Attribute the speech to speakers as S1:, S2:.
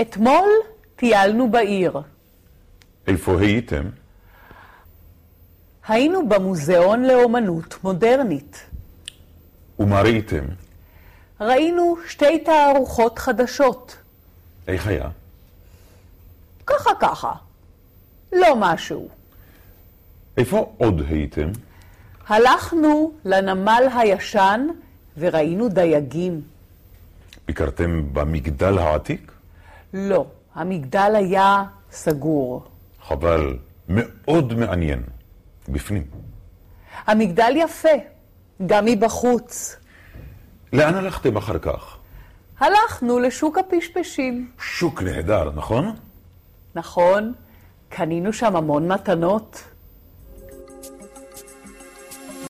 S1: אתמול טיילנו בעיר.
S2: איפה הייתם?
S1: היינו במוזיאון לאומנות מודרנית.
S2: ומה ראיתם?
S1: ראינו שתי תערוכות חדשות.
S2: איך היה?
S1: ככה ככה. לא משהו.
S2: איפה עוד הייתם?
S1: הלכנו לנמל הישן וראינו דייגים.
S2: ביקרתם במגדל העתיק?
S1: לא, המגדל היה סגור.
S2: חבל, מאוד מעניין. בפנים.
S1: המגדל יפה, גם מבחוץ.
S2: לאן הלכתם אחר כך?
S1: הלכנו לשוק הפשפשים.
S2: שוק נהדר, נכון?
S1: נכון, קנינו שם המון מתנות.